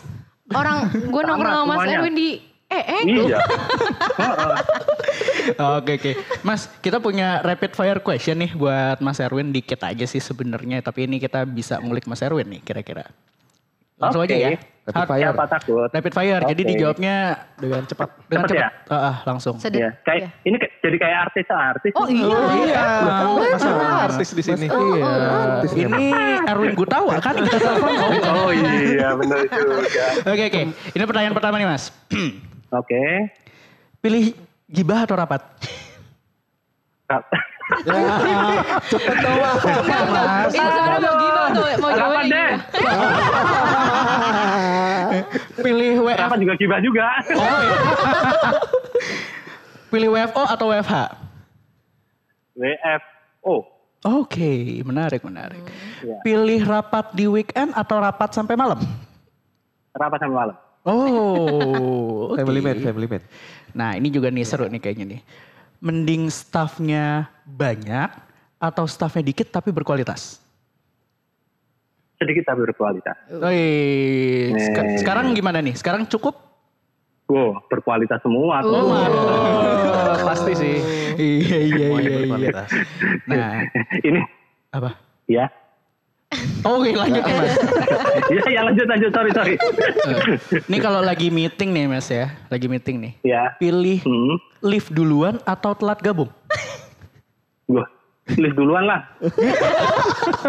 Speaker 2: orang gue nongkrong sama Mas
Speaker 5: semuanya.
Speaker 2: Erwin di Eeng.
Speaker 5: Iya.
Speaker 1: Oh, Oke oke. Mas, kita punya rapid fire question nih buat Mas Erwin dikit aja sih sebenarnya, tapi ini kita bisa ngulik Mas Erwin nih kira-kira. Langsung
Speaker 5: Oke.
Speaker 1: aja ya.
Speaker 3: Rapid
Speaker 1: Hard-
Speaker 3: fire.
Speaker 5: Siapa takut?
Speaker 1: Rapid fire. Jadi
Speaker 5: Oke.
Speaker 1: dijawabnya
Speaker 4: Dengan cepat.
Speaker 1: dengan
Speaker 5: Cepet
Speaker 1: cepat.
Speaker 5: ya?
Speaker 1: Ah, ah, langsung.
Speaker 2: Sedet.
Speaker 5: Iya, kayak
Speaker 2: Iya.
Speaker 5: ini kayak- jadi kayak artis-artis.
Speaker 2: Oh iya.
Speaker 4: Iya,
Speaker 1: Oh,
Speaker 4: Mas Erwin artis di sini.
Speaker 3: Iya. artis ya.
Speaker 1: Eh, Ini Erwin Gutawa kan kita telepon.
Speaker 5: Oh iya, benar juga.
Speaker 1: Oke oke. Ini pertanyaan pertama nih Mas.
Speaker 5: Oke.
Speaker 1: Pilih gibah atau rapat?
Speaker 3: Cepet dong, Wah.
Speaker 2: Ini sebenarnya mau gimana tuh, mau
Speaker 5: Rapat
Speaker 2: jawabannya
Speaker 5: deh.
Speaker 2: gimana?
Speaker 1: Pilih WF.
Speaker 5: Rapat juga gibah juga.
Speaker 1: Oh, iya. Pilih WFO atau WFH?
Speaker 5: WFO.
Speaker 1: Oke, menarik menarik. Pilih rapat di weekend atau rapat sampai malam?
Speaker 5: Rapat sampai malam.
Speaker 1: Oh, oke.
Speaker 3: Family man, family man.
Speaker 1: Nah, ini juga nih seru nih kayaknya nih. Mending staffnya banyak atau staffnya dikit tapi berkualitas?
Speaker 5: Sedikit tapi berkualitas.
Speaker 1: Wih, sek-
Speaker 5: Hmm.
Speaker 1: sekarang gimana nih? Sekarang cukup?
Speaker 5: Wow, berkualitas semua. tuh.
Speaker 2: Oh.
Speaker 4: Waduh, pasti sih.
Speaker 1: Iya iya
Speaker 4: Semuanya
Speaker 1: iya. iya.
Speaker 4: berkualitas.
Speaker 1: Nah,
Speaker 5: Ini
Speaker 1: apa?
Speaker 5: ya.
Speaker 1: Oke lanjut ya mas.
Speaker 5: ya, ya lanjut lanjut sorry sorry.
Speaker 1: Ini kalau lagi meeting nih mas ya, lagi meeting nih.
Speaker 5: ya.
Speaker 1: Pilih
Speaker 5: Hmm.
Speaker 1: lift duluan atau telat gabung?
Speaker 5: Gue lift duluan lah.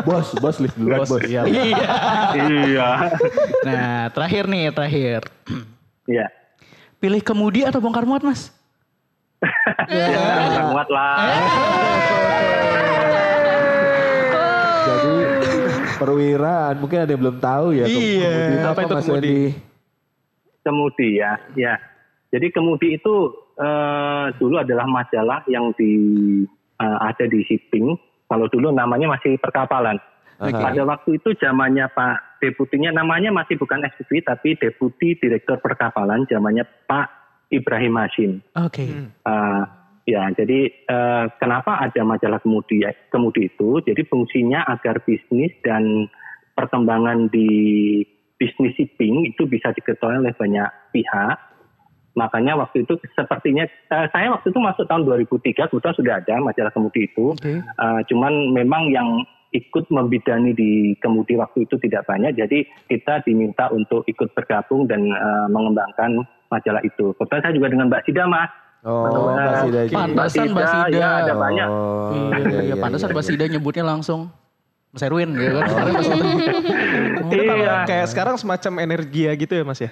Speaker 3: bos, bos lift duluan bos.
Speaker 4: Iya.
Speaker 1: Iya.
Speaker 2: Ah.
Speaker 5: iya.
Speaker 1: Nah terakhir nih terakhir.
Speaker 5: Iya.
Speaker 1: Pilih kemudi atau bongkar muat mas?
Speaker 5: Ya, kuat
Speaker 2: Eh,
Speaker 5: lah.
Speaker 3: Jadi perwiraan mungkin ada yang belum tahu ya. ke-
Speaker 1: Iya,
Speaker 3: kemudi
Speaker 1: apa itu
Speaker 3: Mas
Speaker 1: kemudi?
Speaker 3: Wendy?
Speaker 5: Kemudi ya, ya. Jadi kemudi itu eh, dulu adalah majalah yang di eh, ada di shipping. Kalau dulu namanya masih perkapalan.
Speaker 3: Oke.
Speaker 5: Pada waktu itu zamannya Pak Deputinya namanya masih bukan SPV tapi Deputi Direktur Perkapalan zamannya Pak Ibrahim Hashim.
Speaker 1: Oke.
Speaker 5: Eh, ya, jadi eh, kenapa ada majalah kemudi ya- kemudi itu? Jadi fungsinya agar bisnis dan perkembangan di bisnis shipping itu bisa diketahui oleh banyak pihak. Makanya waktu itu sepertinya eh, saya waktu itu masuk tahun 2003 kebetulan sudah ada majalah kemudi itu.
Speaker 1: Oke.
Speaker 5: Eh, cuman memang yang ikut membidani di kemudi waktu itu tidak banyak, jadi kita diminta untuk ikut bergabung dan eh, mengembangkan majalah itu. Kebetulan saya juga dengan Mbak Sida, Mas.
Speaker 3: Oh,
Speaker 5: Nah,
Speaker 3: Mas Ida juga.
Speaker 1: Pantasan Mbak Sida.
Speaker 5: Ya, ada banyak.
Speaker 3: Oh,
Speaker 1: Iya, iya, pantasan Mbak Sida nyebutnya langsung Mas Erwin gitu kan. Sekarang Mas Erwin.
Speaker 4: Itu kalau
Speaker 5: Iya.
Speaker 4: kayak sekarang semacam energia gitu ya mas ya?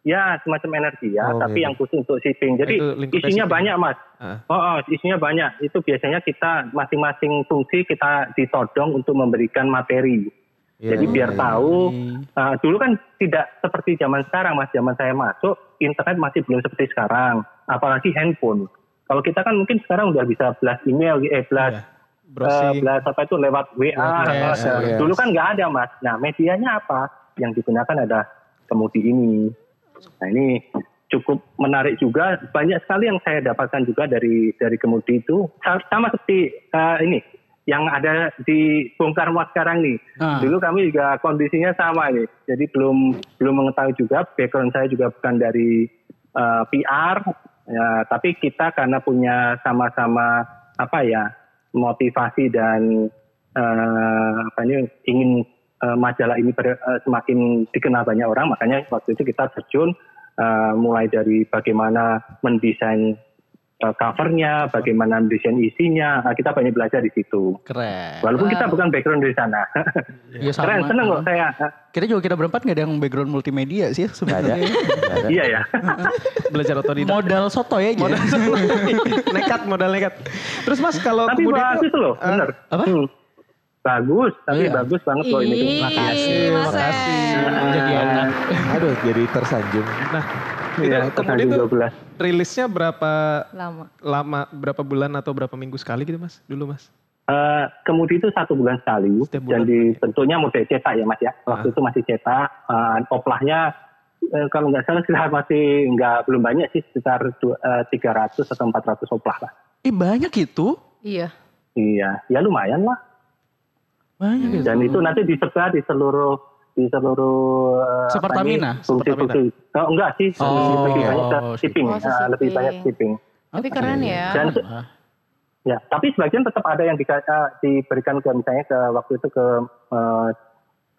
Speaker 5: Ya, semacam energi ya,
Speaker 3: Oh,
Speaker 5: tapi
Speaker 3: iya.
Speaker 5: yang khusus untuk shipping. Jadi
Speaker 4: gitu. Itu lingkupnya
Speaker 5: isinya
Speaker 4: shipping.
Speaker 5: banyak, Mas.
Speaker 4: Heeh.
Speaker 5: Oh, oh, isinya banyak. Itu biasanya kita masing-masing fungsi kita ditodong untuk memberikan materi.
Speaker 4: Ya,
Speaker 3: Iya,
Speaker 5: Jadi
Speaker 3: iya,
Speaker 5: biar
Speaker 3: iya.
Speaker 5: tahu. eh, dulu kan tidak seperti zaman sekarang, Mas. Zaman saya masuk, internet masih belum seperti sekarang, apalagi handphone. Kalau kita kan mungkin sekarang udah bisa blast email, eh blast
Speaker 4: Iya.
Speaker 5: Eh,
Speaker 4: Browsing.
Speaker 5: belas apa itu lewat WA.
Speaker 4: Lewat ya.
Speaker 5: atau-
Speaker 3: WA.
Speaker 5: Dulu kan nggak ada mas. Nah medianya apa? Yang digunakan ada kemudi ini. Nah ini cukup menarik juga. Banyak sekali yang saya dapatkan juga dari dari kemudi itu. Sa- Sama seperti eh, ini yang ada di bongkar muat sekarang nih.
Speaker 1: Ah.
Speaker 5: Dulu kami juga kondisinya sama ini. Jadi belum belum mengetahui juga background saya juga bukan dari eh, PR ya, tapi kita karena punya sama-sama apa ya motivasi dan eh, apa ini, ingin eh, majalah ini ber- eh, semakin dikenal banyak orang makanya waktu itu kita terjun eh, mulai dari bagaimana mendesain eh, covernya, bagaimana mendesain isinya, Nah, kita banyak belajar di situ.
Speaker 1: Keren.
Speaker 5: Walaupun kita
Speaker 2: Wow.
Speaker 5: bukan background dari sana.
Speaker 1: Iya sama.
Speaker 5: Keren, seneng kok saya.
Speaker 1: Kita juga kita berempat gak ada yang background multimedia sih
Speaker 3: Ada.
Speaker 1: sebenarnya.
Speaker 3: Ada.
Speaker 5: Iya ya.
Speaker 4: Belajar otodidak.
Speaker 1: Modal soto ya
Speaker 4: Modal nekat, modal nekat. Terus mas kalau
Speaker 5: tapi
Speaker 4: kemudian tuh-
Speaker 5: bagus loh, bener.
Speaker 1: apa?
Speaker 5: Hmm. Bagus, tapi
Speaker 1: Iya.
Speaker 5: bagus banget loh ini.
Speaker 2: Ih,
Speaker 1: Makasih,
Speaker 2: Mas
Speaker 4: makasih.
Speaker 2: Em.
Speaker 1: Jadi enak.
Speaker 3: Aduh, jadi tersanjung.
Speaker 4: Nah,
Speaker 5: Iya,
Speaker 4: tidak, kemudian
Speaker 5: tersanjung
Speaker 4: tuh
Speaker 5: 12.
Speaker 4: rilisnya berapa
Speaker 2: Lama.
Speaker 4: lama, berapa bulan atau berapa minggu sekali gitu mas? Dulu mas?
Speaker 5: Eh, kemudi itu satu bulan sekali,
Speaker 4: Setiap bulan.
Speaker 5: dan di, bentuknya model cetak ya mas ya.
Speaker 4: Ah.
Speaker 5: Waktu itu masih cetak, eh, oplahnya eh, kalau nggak salah kita masih nggak belum banyak sih sekitar du- eh, 300 atau 400 oplah lah.
Speaker 1: Eh banyak itu.
Speaker 2: Iya.
Speaker 5: Iya, ya lumayan lah.
Speaker 1: Banyak itu.
Speaker 5: Dan itu nanti disebar di seluruh di seluruh eh,
Speaker 1: Sepertamina?
Speaker 5: apa ini, fungsi-fungsi. Oh, enggak sih,
Speaker 1: Oh,
Speaker 5: lebih banyak ke
Speaker 1: shipping.
Speaker 5: shipping,
Speaker 2: Oh,
Speaker 5: eh, lebih
Speaker 2: shipping.
Speaker 5: banyak shipping.
Speaker 2: Tapi
Speaker 1: Oke.
Speaker 2: keren ya.
Speaker 5: Dan- Ya, tapi sebagian tetap ada yang dika- eh, diberikan ke misalnya ke waktu itu ke eh,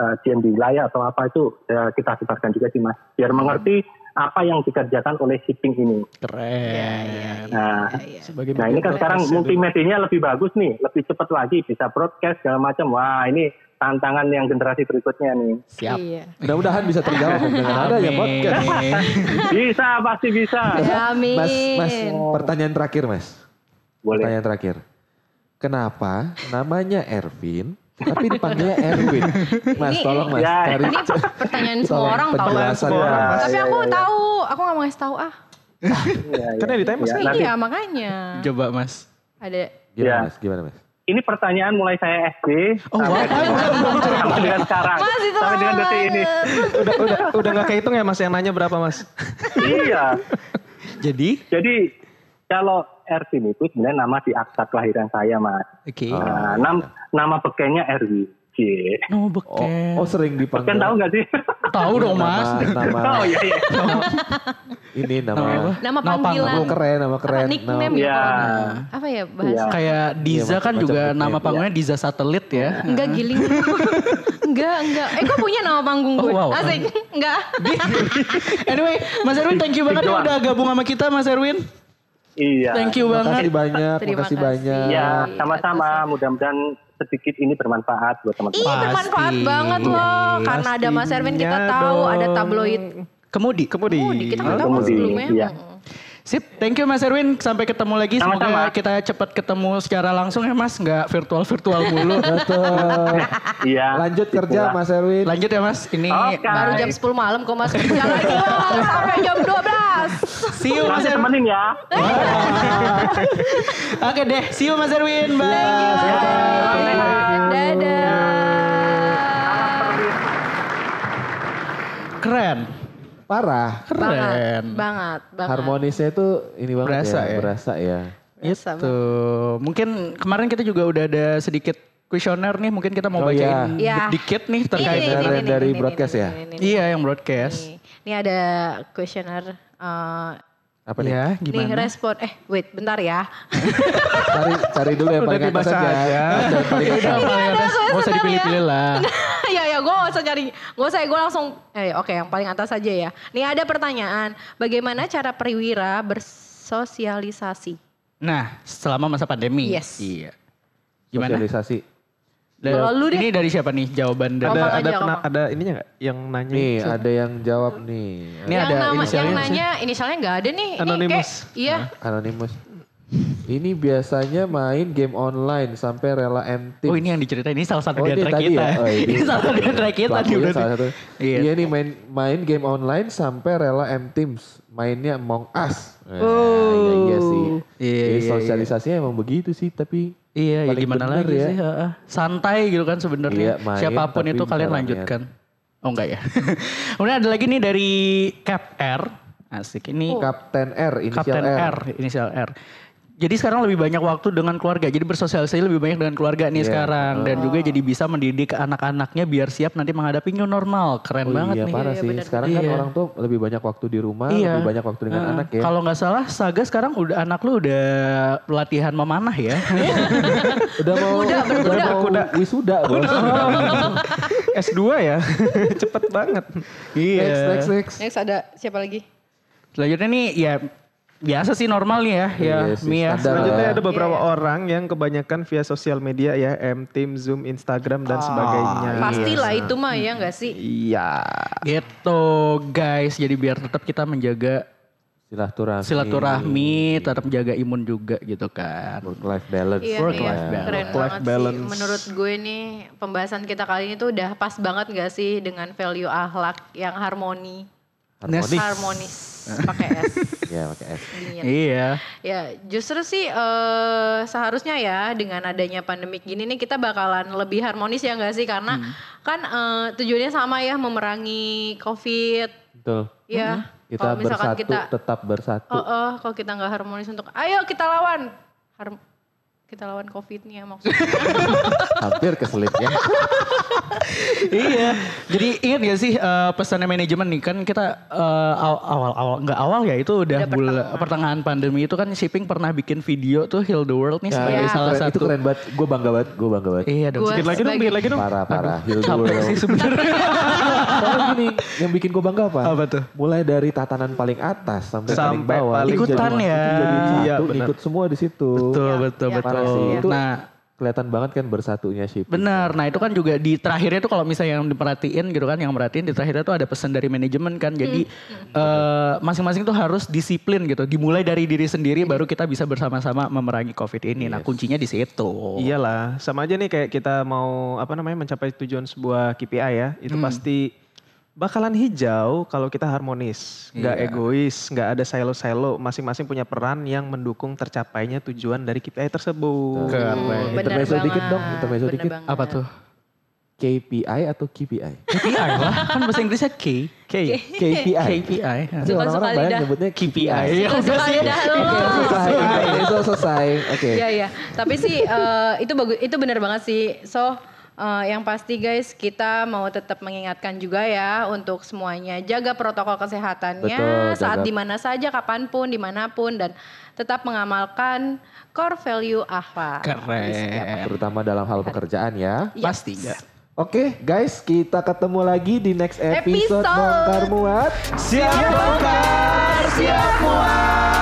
Speaker 5: eh, GM di wilayah atau apa itu eh, kita sebarkan juga sih mas, biar mengerti apa yang dikerjakan oleh shipping ini.
Speaker 2: Iya,
Speaker 1: Keren.
Speaker 2: iya, iya,
Speaker 5: Nah,
Speaker 2: iya.
Speaker 4: Sebagai
Speaker 5: nah ini kan
Speaker 4: broadcast
Speaker 5: sekarang
Speaker 4: ya dulu.
Speaker 5: multimedianya lebih bagus nih, lebih cepat lagi bisa broadcast segala macam. Wah ini tantangan yang generasi berikutnya nih.
Speaker 1: Siap.
Speaker 2: Iya.
Speaker 3: Mudah-mudahan bisa terjawab dengan ada ya
Speaker 1: Amin.
Speaker 3: podcast.
Speaker 5: Bisa pasti bisa.
Speaker 2: Amin.
Speaker 3: Mas, mas, pertanyaan terakhir mas.
Speaker 5: Boleh.
Speaker 3: Pertanyaan terakhir. Kenapa namanya Ervin tapi dipanggilnya Erwin?
Speaker 2: Ini-
Speaker 3: Mas, tolong mas.
Speaker 5: Ya,
Speaker 3: Cari
Speaker 2: Ini pertanyaan semua
Speaker 3: tolong
Speaker 2: orang tahu. kan?
Speaker 3: penjelasan.
Speaker 4: Semua orang,
Speaker 3: Mas.
Speaker 4: Mas.
Speaker 2: Tapi
Speaker 5: Iya,
Speaker 2: aku
Speaker 5: iya, iya.
Speaker 2: tahu, aku nggak mau ngasih tahu ah.
Speaker 5: Iya, iya.
Speaker 4: Karena ditanya mas
Speaker 5: Ya,
Speaker 2: Iya,
Speaker 5: nanti-
Speaker 2: makanya.
Speaker 1: Coba mas.
Speaker 2: Ada
Speaker 3: Gimana
Speaker 5: Ya.
Speaker 3: mas? Gimana mas?
Speaker 5: Ini pertanyaan mulai saya SD
Speaker 1: Oh,
Speaker 5: sampai,
Speaker 1: wah.
Speaker 5: sampai dengan sekarang,
Speaker 2: Mas, itu
Speaker 5: sampai dengan
Speaker 2: lama
Speaker 5: detik ini.
Speaker 4: udah udah udah nggak kehitung ya mas yang nanya berapa mas?
Speaker 5: iya.
Speaker 1: Jadi.
Speaker 5: Jadi kalau Erwin itu sebenarnya nama di akta kelahiran saya, Mas.
Speaker 3: Oh.
Speaker 1: Oke.
Speaker 5: Nah, nam- nama bekenya Erwin. G Cie.
Speaker 1: No
Speaker 3: Oh,
Speaker 1: beken.
Speaker 3: oh sering dipanggil.
Speaker 5: Beken Kan tahu nggak sih?
Speaker 1: tahu dong mas.
Speaker 3: Nama, nama
Speaker 5: Oh iya iya.
Speaker 3: ini nama,
Speaker 1: Nama apa?
Speaker 2: Nama
Speaker 1: Nama Iya.
Speaker 2: panggilan.
Speaker 1: panggung.
Speaker 3: keren, nama keren.
Speaker 2: Apa nickname
Speaker 5: Iya.
Speaker 2: ya? orang? Apa ya bahasa?
Speaker 1: Kayak Diza
Speaker 3: macam-
Speaker 1: kan
Speaker 3: macam
Speaker 1: juga nama
Speaker 3: nickname,
Speaker 1: panggungnya Diza Satelit ya.
Speaker 2: Enggak giling. enggak, enggak. Eh kok punya nama panggung
Speaker 1: Oh,
Speaker 2: gue?
Speaker 1: wow.
Speaker 2: Asik. Enggak.
Speaker 1: anyway, Mas Erwin thank you banget ya udah gabung sama kita Mas Erwin.
Speaker 5: Iya.
Speaker 1: Thank you
Speaker 3: Terima
Speaker 1: banget.
Speaker 3: kasih banyak, terima
Speaker 2: Terima
Speaker 3: kasih
Speaker 2: kasih.
Speaker 3: banyak.
Speaker 5: Ya,
Speaker 2: Iya,
Speaker 5: sama-sama. Mudah-mudahan sedikit ini bermanfaat buat
Speaker 2: Ih
Speaker 1: Iya.
Speaker 5: teman-teman.
Speaker 2: bermanfaat
Speaker 1: Pasti.
Speaker 2: banget loh. Karena ada Mas Erwin kita
Speaker 4: Pastinya
Speaker 2: tahu ada
Speaker 4: dong.
Speaker 2: tabloid.
Speaker 1: Kemudi.
Speaker 4: Kemudi.
Speaker 2: Oh, di kita nggak tahu kan
Speaker 5: Kemudi,
Speaker 2: sebelumnya.
Speaker 5: iya.
Speaker 1: Sip, thank you Mas Erwin. Sampai ketemu lagi. Semoga
Speaker 5: Sama-sama.
Speaker 1: kita cepat ketemu secara langsung ya Mas, nggak virtual-virtual mulu.
Speaker 3: Betul.
Speaker 5: Iya.
Speaker 3: Lanjut kerja
Speaker 5: Itulah.
Speaker 3: Mas Erwin.
Speaker 1: Lanjut ya Mas, ini
Speaker 5: Oke.
Speaker 2: Baru jam 10 malam kok Mas kerja lagi Wah, sampai jam 12.
Speaker 1: see you Mas
Speaker 5: Nanti
Speaker 1: Erwin.
Speaker 5: temenin ya.
Speaker 1: Oke deh, see you Mas Erwin. Bye.
Speaker 2: Ya, Dadah.
Speaker 1: Keren.
Speaker 3: Parah.
Speaker 2: Banget,
Speaker 1: Keren.
Speaker 2: banget, banget.
Speaker 3: Harmonisnya itu ini banget
Speaker 1: Berasa
Speaker 3: ya,
Speaker 1: ya.
Speaker 3: berasa ya.
Speaker 2: Biasa
Speaker 1: Itu. Gitu. Mungkin kemarin kita juga udah ada sedikit kuesioner nih, mungkin kita mau
Speaker 3: Oh,
Speaker 1: bacain
Speaker 2: iya. Iya.
Speaker 1: Ya. dikit nih terkait
Speaker 3: Ini, ini,
Speaker 1: dengan-
Speaker 3: ini. dari broadcast ya?
Speaker 1: Iya, yang broadcast.
Speaker 2: Nih, Ini ada kuesioner. eh,
Speaker 3: Apa nih?
Speaker 1: Ya,
Speaker 2: nih
Speaker 1: gimana?
Speaker 2: respon, eh wait bentar ya.
Speaker 3: Cari cari dulu yang
Speaker 4: Udah
Speaker 3: paling atas
Speaker 4: dibaca
Speaker 3: aja.
Speaker 4: aja.
Speaker 3: Baca yang paling atas.
Speaker 1: Gak usah dipilih-pilih lah.
Speaker 2: ya ya gue gak usah cari, gak usah gue langsung, eh oke yang paling atas aja ya. Nih ada pertanyaan, bagaimana cara perwira bersosialisasi?
Speaker 1: Nah, selama masa pandemi.
Speaker 2: Yes.
Speaker 1: Iya. Gimana?
Speaker 3: Sosialisasi.
Speaker 1: Da-
Speaker 2: Kalau lu deh.
Speaker 1: ini dari siapa nih jawaban dari?
Speaker 4: Ada
Speaker 2: Ngomong
Speaker 4: ada
Speaker 2: aja,
Speaker 4: pena-
Speaker 2: ngomong.
Speaker 4: ada ininya nggak yang nanya?
Speaker 3: Nih, ada yang jawab nih.
Speaker 1: Ini
Speaker 2: yang
Speaker 1: ada
Speaker 2: nama, yang
Speaker 1: inisialnya.
Speaker 2: nanya inisialnya nggak ada nih. Ini
Speaker 4: Anonymous.
Speaker 2: kayak, iya.
Speaker 3: Nah. Anonymous. Ini biasanya main game online sampai rela empty.
Speaker 1: Oh ini yang diceritain ini salah
Speaker 3: Oh,
Speaker 1: satu di
Speaker 3: ini
Speaker 1: antara
Speaker 3: tadi
Speaker 1: kita.
Speaker 3: ya? Oh, ini.
Speaker 1: ini salah satu di antara kita nih
Speaker 3: Pelakunya
Speaker 1: udah.
Speaker 3: salah satu.
Speaker 1: Iya.
Speaker 3: Iya nih main main game online sampai rela M Teams. Mainnya Among Us. Nah, iya, iya sih.
Speaker 1: Iya,
Speaker 3: Jadi
Speaker 1: iya, iya.
Speaker 3: sosialisasinya emang begitu sih tapi
Speaker 1: Iya, ya
Speaker 3: paling
Speaker 1: gimana
Speaker 3: bener
Speaker 1: lagi
Speaker 3: ya.
Speaker 1: sih? heeh. Santai gitu kan
Speaker 3: Iya,
Speaker 1: sebenarnya.
Speaker 3: main,
Speaker 1: Siapapun
Speaker 3: tapi
Speaker 1: itu kalian
Speaker 3: caranya.
Speaker 1: lanjutkan. Oh enggak ya. Kemudian ada lagi nih dari Cap R. Asik ini
Speaker 3: Kapten R Oh, inisial
Speaker 1: Oh. Kapten
Speaker 3: R.
Speaker 1: R. inisial R. Jadi sekarang lebih banyak waktu dengan keluarga. Jadi bersosialisasi lebih banyak dengan keluarga
Speaker 3: Iya.
Speaker 1: nih sekarang dan juga
Speaker 3: Ah.
Speaker 1: jadi bisa mendidik anak-anaknya biar siap nanti menghadapi new normal. Keren
Speaker 3: Oh
Speaker 1: banget
Speaker 3: iya
Speaker 1: nih.
Speaker 3: parah
Speaker 2: Iya,
Speaker 3: sih.
Speaker 2: bener.
Speaker 3: Sekarang kan
Speaker 1: Iya.
Speaker 3: orang tuh lebih banyak waktu di rumah, lebih banyak waktu dengan
Speaker 1: Heeh.
Speaker 3: anak ya.
Speaker 1: Kalau nggak salah Saga sekarang udah anak lu udah latihan memanah ya.
Speaker 3: Udah mau udah mau wisuda bos.
Speaker 4: S2 ya. Cepet banget.
Speaker 3: Next next next.
Speaker 2: Next ada siapa lagi?
Speaker 1: Selanjutnya nih ya biasa sih normal nih ya. Ya,
Speaker 3: Iya sih,
Speaker 1: Mia.
Speaker 3: standar
Speaker 4: Selanjutnya
Speaker 3: Iya.
Speaker 4: ada beberapa orang yang kebanyakan via sosial media ya, M Team, Zoom, Instagram dan sebagainya.
Speaker 2: Pastilah Ah, itu mah ya nggak sih?
Speaker 4: Iya.
Speaker 1: Gitu guys. Jadi biar tetap kita menjaga
Speaker 3: Silaturahmi.
Speaker 1: silaturahmi, tetap menjaga imun juga gitu kan.
Speaker 3: Work life balance.
Speaker 2: Iya
Speaker 1: Work
Speaker 2: nih,
Speaker 1: life balance.
Speaker 2: keren
Speaker 4: Work life
Speaker 2: banget
Speaker 4: balance.
Speaker 2: sih. Menurut gue nih pembahasan kita kali ini tuh udah pas banget gak sih dengan value akhlak yang harmoni,
Speaker 3: Harmonis.
Speaker 2: harmonis pakai S.
Speaker 3: Iya, pakai S.
Speaker 2: dingin.
Speaker 1: Iya.
Speaker 2: Ya justru sih eh, seharusnya ya dengan adanya pandemik gini nih kita bakalan lebih harmonis ya gak sih karena
Speaker 3: Hmm.
Speaker 2: kan eh, tujuannya sama ya memerangi covid
Speaker 3: Betul.
Speaker 2: ya.
Speaker 3: Hmm, Kita
Speaker 2: Kalau misalkan
Speaker 3: bersatu,
Speaker 2: kita
Speaker 3: tetap bersatu.
Speaker 2: Oh, oh, kalau kita nggak harmonis untuk, ayo kita lawan, Harm- kita lawan COVID-nya maksudnya.
Speaker 3: Hampir keselip ya.
Speaker 1: iya. Jadi ingat gak sih eh, pesannya manajemen nih kan kita eh, aw- awal awal nggak awal ya itu udah,
Speaker 2: Udah
Speaker 1: bula-
Speaker 2: pertengahan.
Speaker 1: pertengahan pandemi itu kan shipping pernah bikin video tuh heal the world nih sebagai
Speaker 2: iya.
Speaker 1: salah
Speaker 3: Ya, Keren,
Speaker 1: satu.
Speaker 3: Itu keren banget. Gue bangga banget. Gue bangga banget.
Speaker 1: Iya dong.
Speaker 2: Gua
Speaker 4: Dikit lagi dong, dikit
Speaker 2: sebagai-
Speaker 4: lagi dong.
Speaker 3: Parah parah. Heal the
Speaker 1: Capek
Speaker 3: world.
Speaker 1: sih sebenarnya.
Speaker 3: Soalnya gini, yang bikin gue bangga apa?
Speaker 1: Apa tuh?
Speaker 3: Mulai dari tatanan paling atas sampai, paling
Speaker 4: Sampai
Speaker 3: bawah.
Speaker 4: paling
Speaker 1: Ikutan
Speaker 3: jadi,
Speaker 1: ya.
Speaker 3: Jadi satu,
Speaker 4: Iya, benar.
Speaker 3: ikut semua di situ.
Speaker 1: Betul, betul,
Speaker 2: iya,
Speaker 1: betul.
Speaker 3: parah sih. Itu-
Speaker 1: Nah,
Speaker 3: Kelihatan banget kan bersatunya ship.
Speaker 1: Benar. Nah, itu kan juga di terakhirnya tuh kalau misalnya yang diperhatiin gitu kan, yang merhatiin di terakhirnya tuh ada pesan dari manajemen kan. Jadi eh, masing-masing tuh harus disiplin gitu. Dimulai dari diri sendiri baru kita bisa bersama-sama memerangi Covid ini. Nah, kuncinya di situ.
Speaker 4: Iyalah, sama aja nih kayak kita mau apa namanya mencapai tujuan sebuah KPI ya, itu pasti bakalan hijau kalau kita harmonis, nggak egois, nggak ada silo-silo, masing-masing punya peran yang mendukung tercapainya tujuan dari KPI tersebut.
Speaker 2: Hmm, benar
Speaker 3: Intermezzo dikit dong,
Speaker 2: banget,
Speaker 3: intermezzo
Speaker 2: benar
Speaker 3: dikit.
Speaker 2: banget.
Speaker 1: Apa tuh?
Speaker 3: KPI atau KPI?
Speaker 1: KPI lah. Kan bahasa Inggrisnya K.
Speaker 4: Oke,
Speaker 3: KPI.
Speaker 1: KPI.
Speaker 3: Nanti orang-orang
Speaker 2: Suka-suka
Speaker 3: banyak
Speaker 2: lidah.
Speaker 3: nyebutnya KPI.
Speaker 1: KPI. Ya udah
Speaker 2: Suka
Speaker 1: sih.
Speaker 2: lidah lu.
Speaker 3: Iya, Selesai, intermezzo selesai. Oke.
Speaker 2: Iya iya. Tapi sih eh, itu bagus, itu benar banget sih. So eh, eh, yang pasti guys kita mau tetap mengingatkan juga ya untuk semuanya jaga protokol kesehatannya
Speaker 3: Betul,
Speaker 2: saat
Speaker 3: jaga.
Speaker 2: di mana saja, kapanpun, dimanapun dan tetap mengamalkan core value akhlak. Di setiap
Speaker 1: Keren.
Speaker 3: Terutama dalam hal pekerjaan ya.
Speaker 2: Yes.
Speaker 1: Pasti enggak.
Speaker 3: Oke guys, kita ketemu lagi di next episode,
Speaker 2: Episode.
Speaker 3: Bongkar Muat. Siap Bongkar, siap Muat.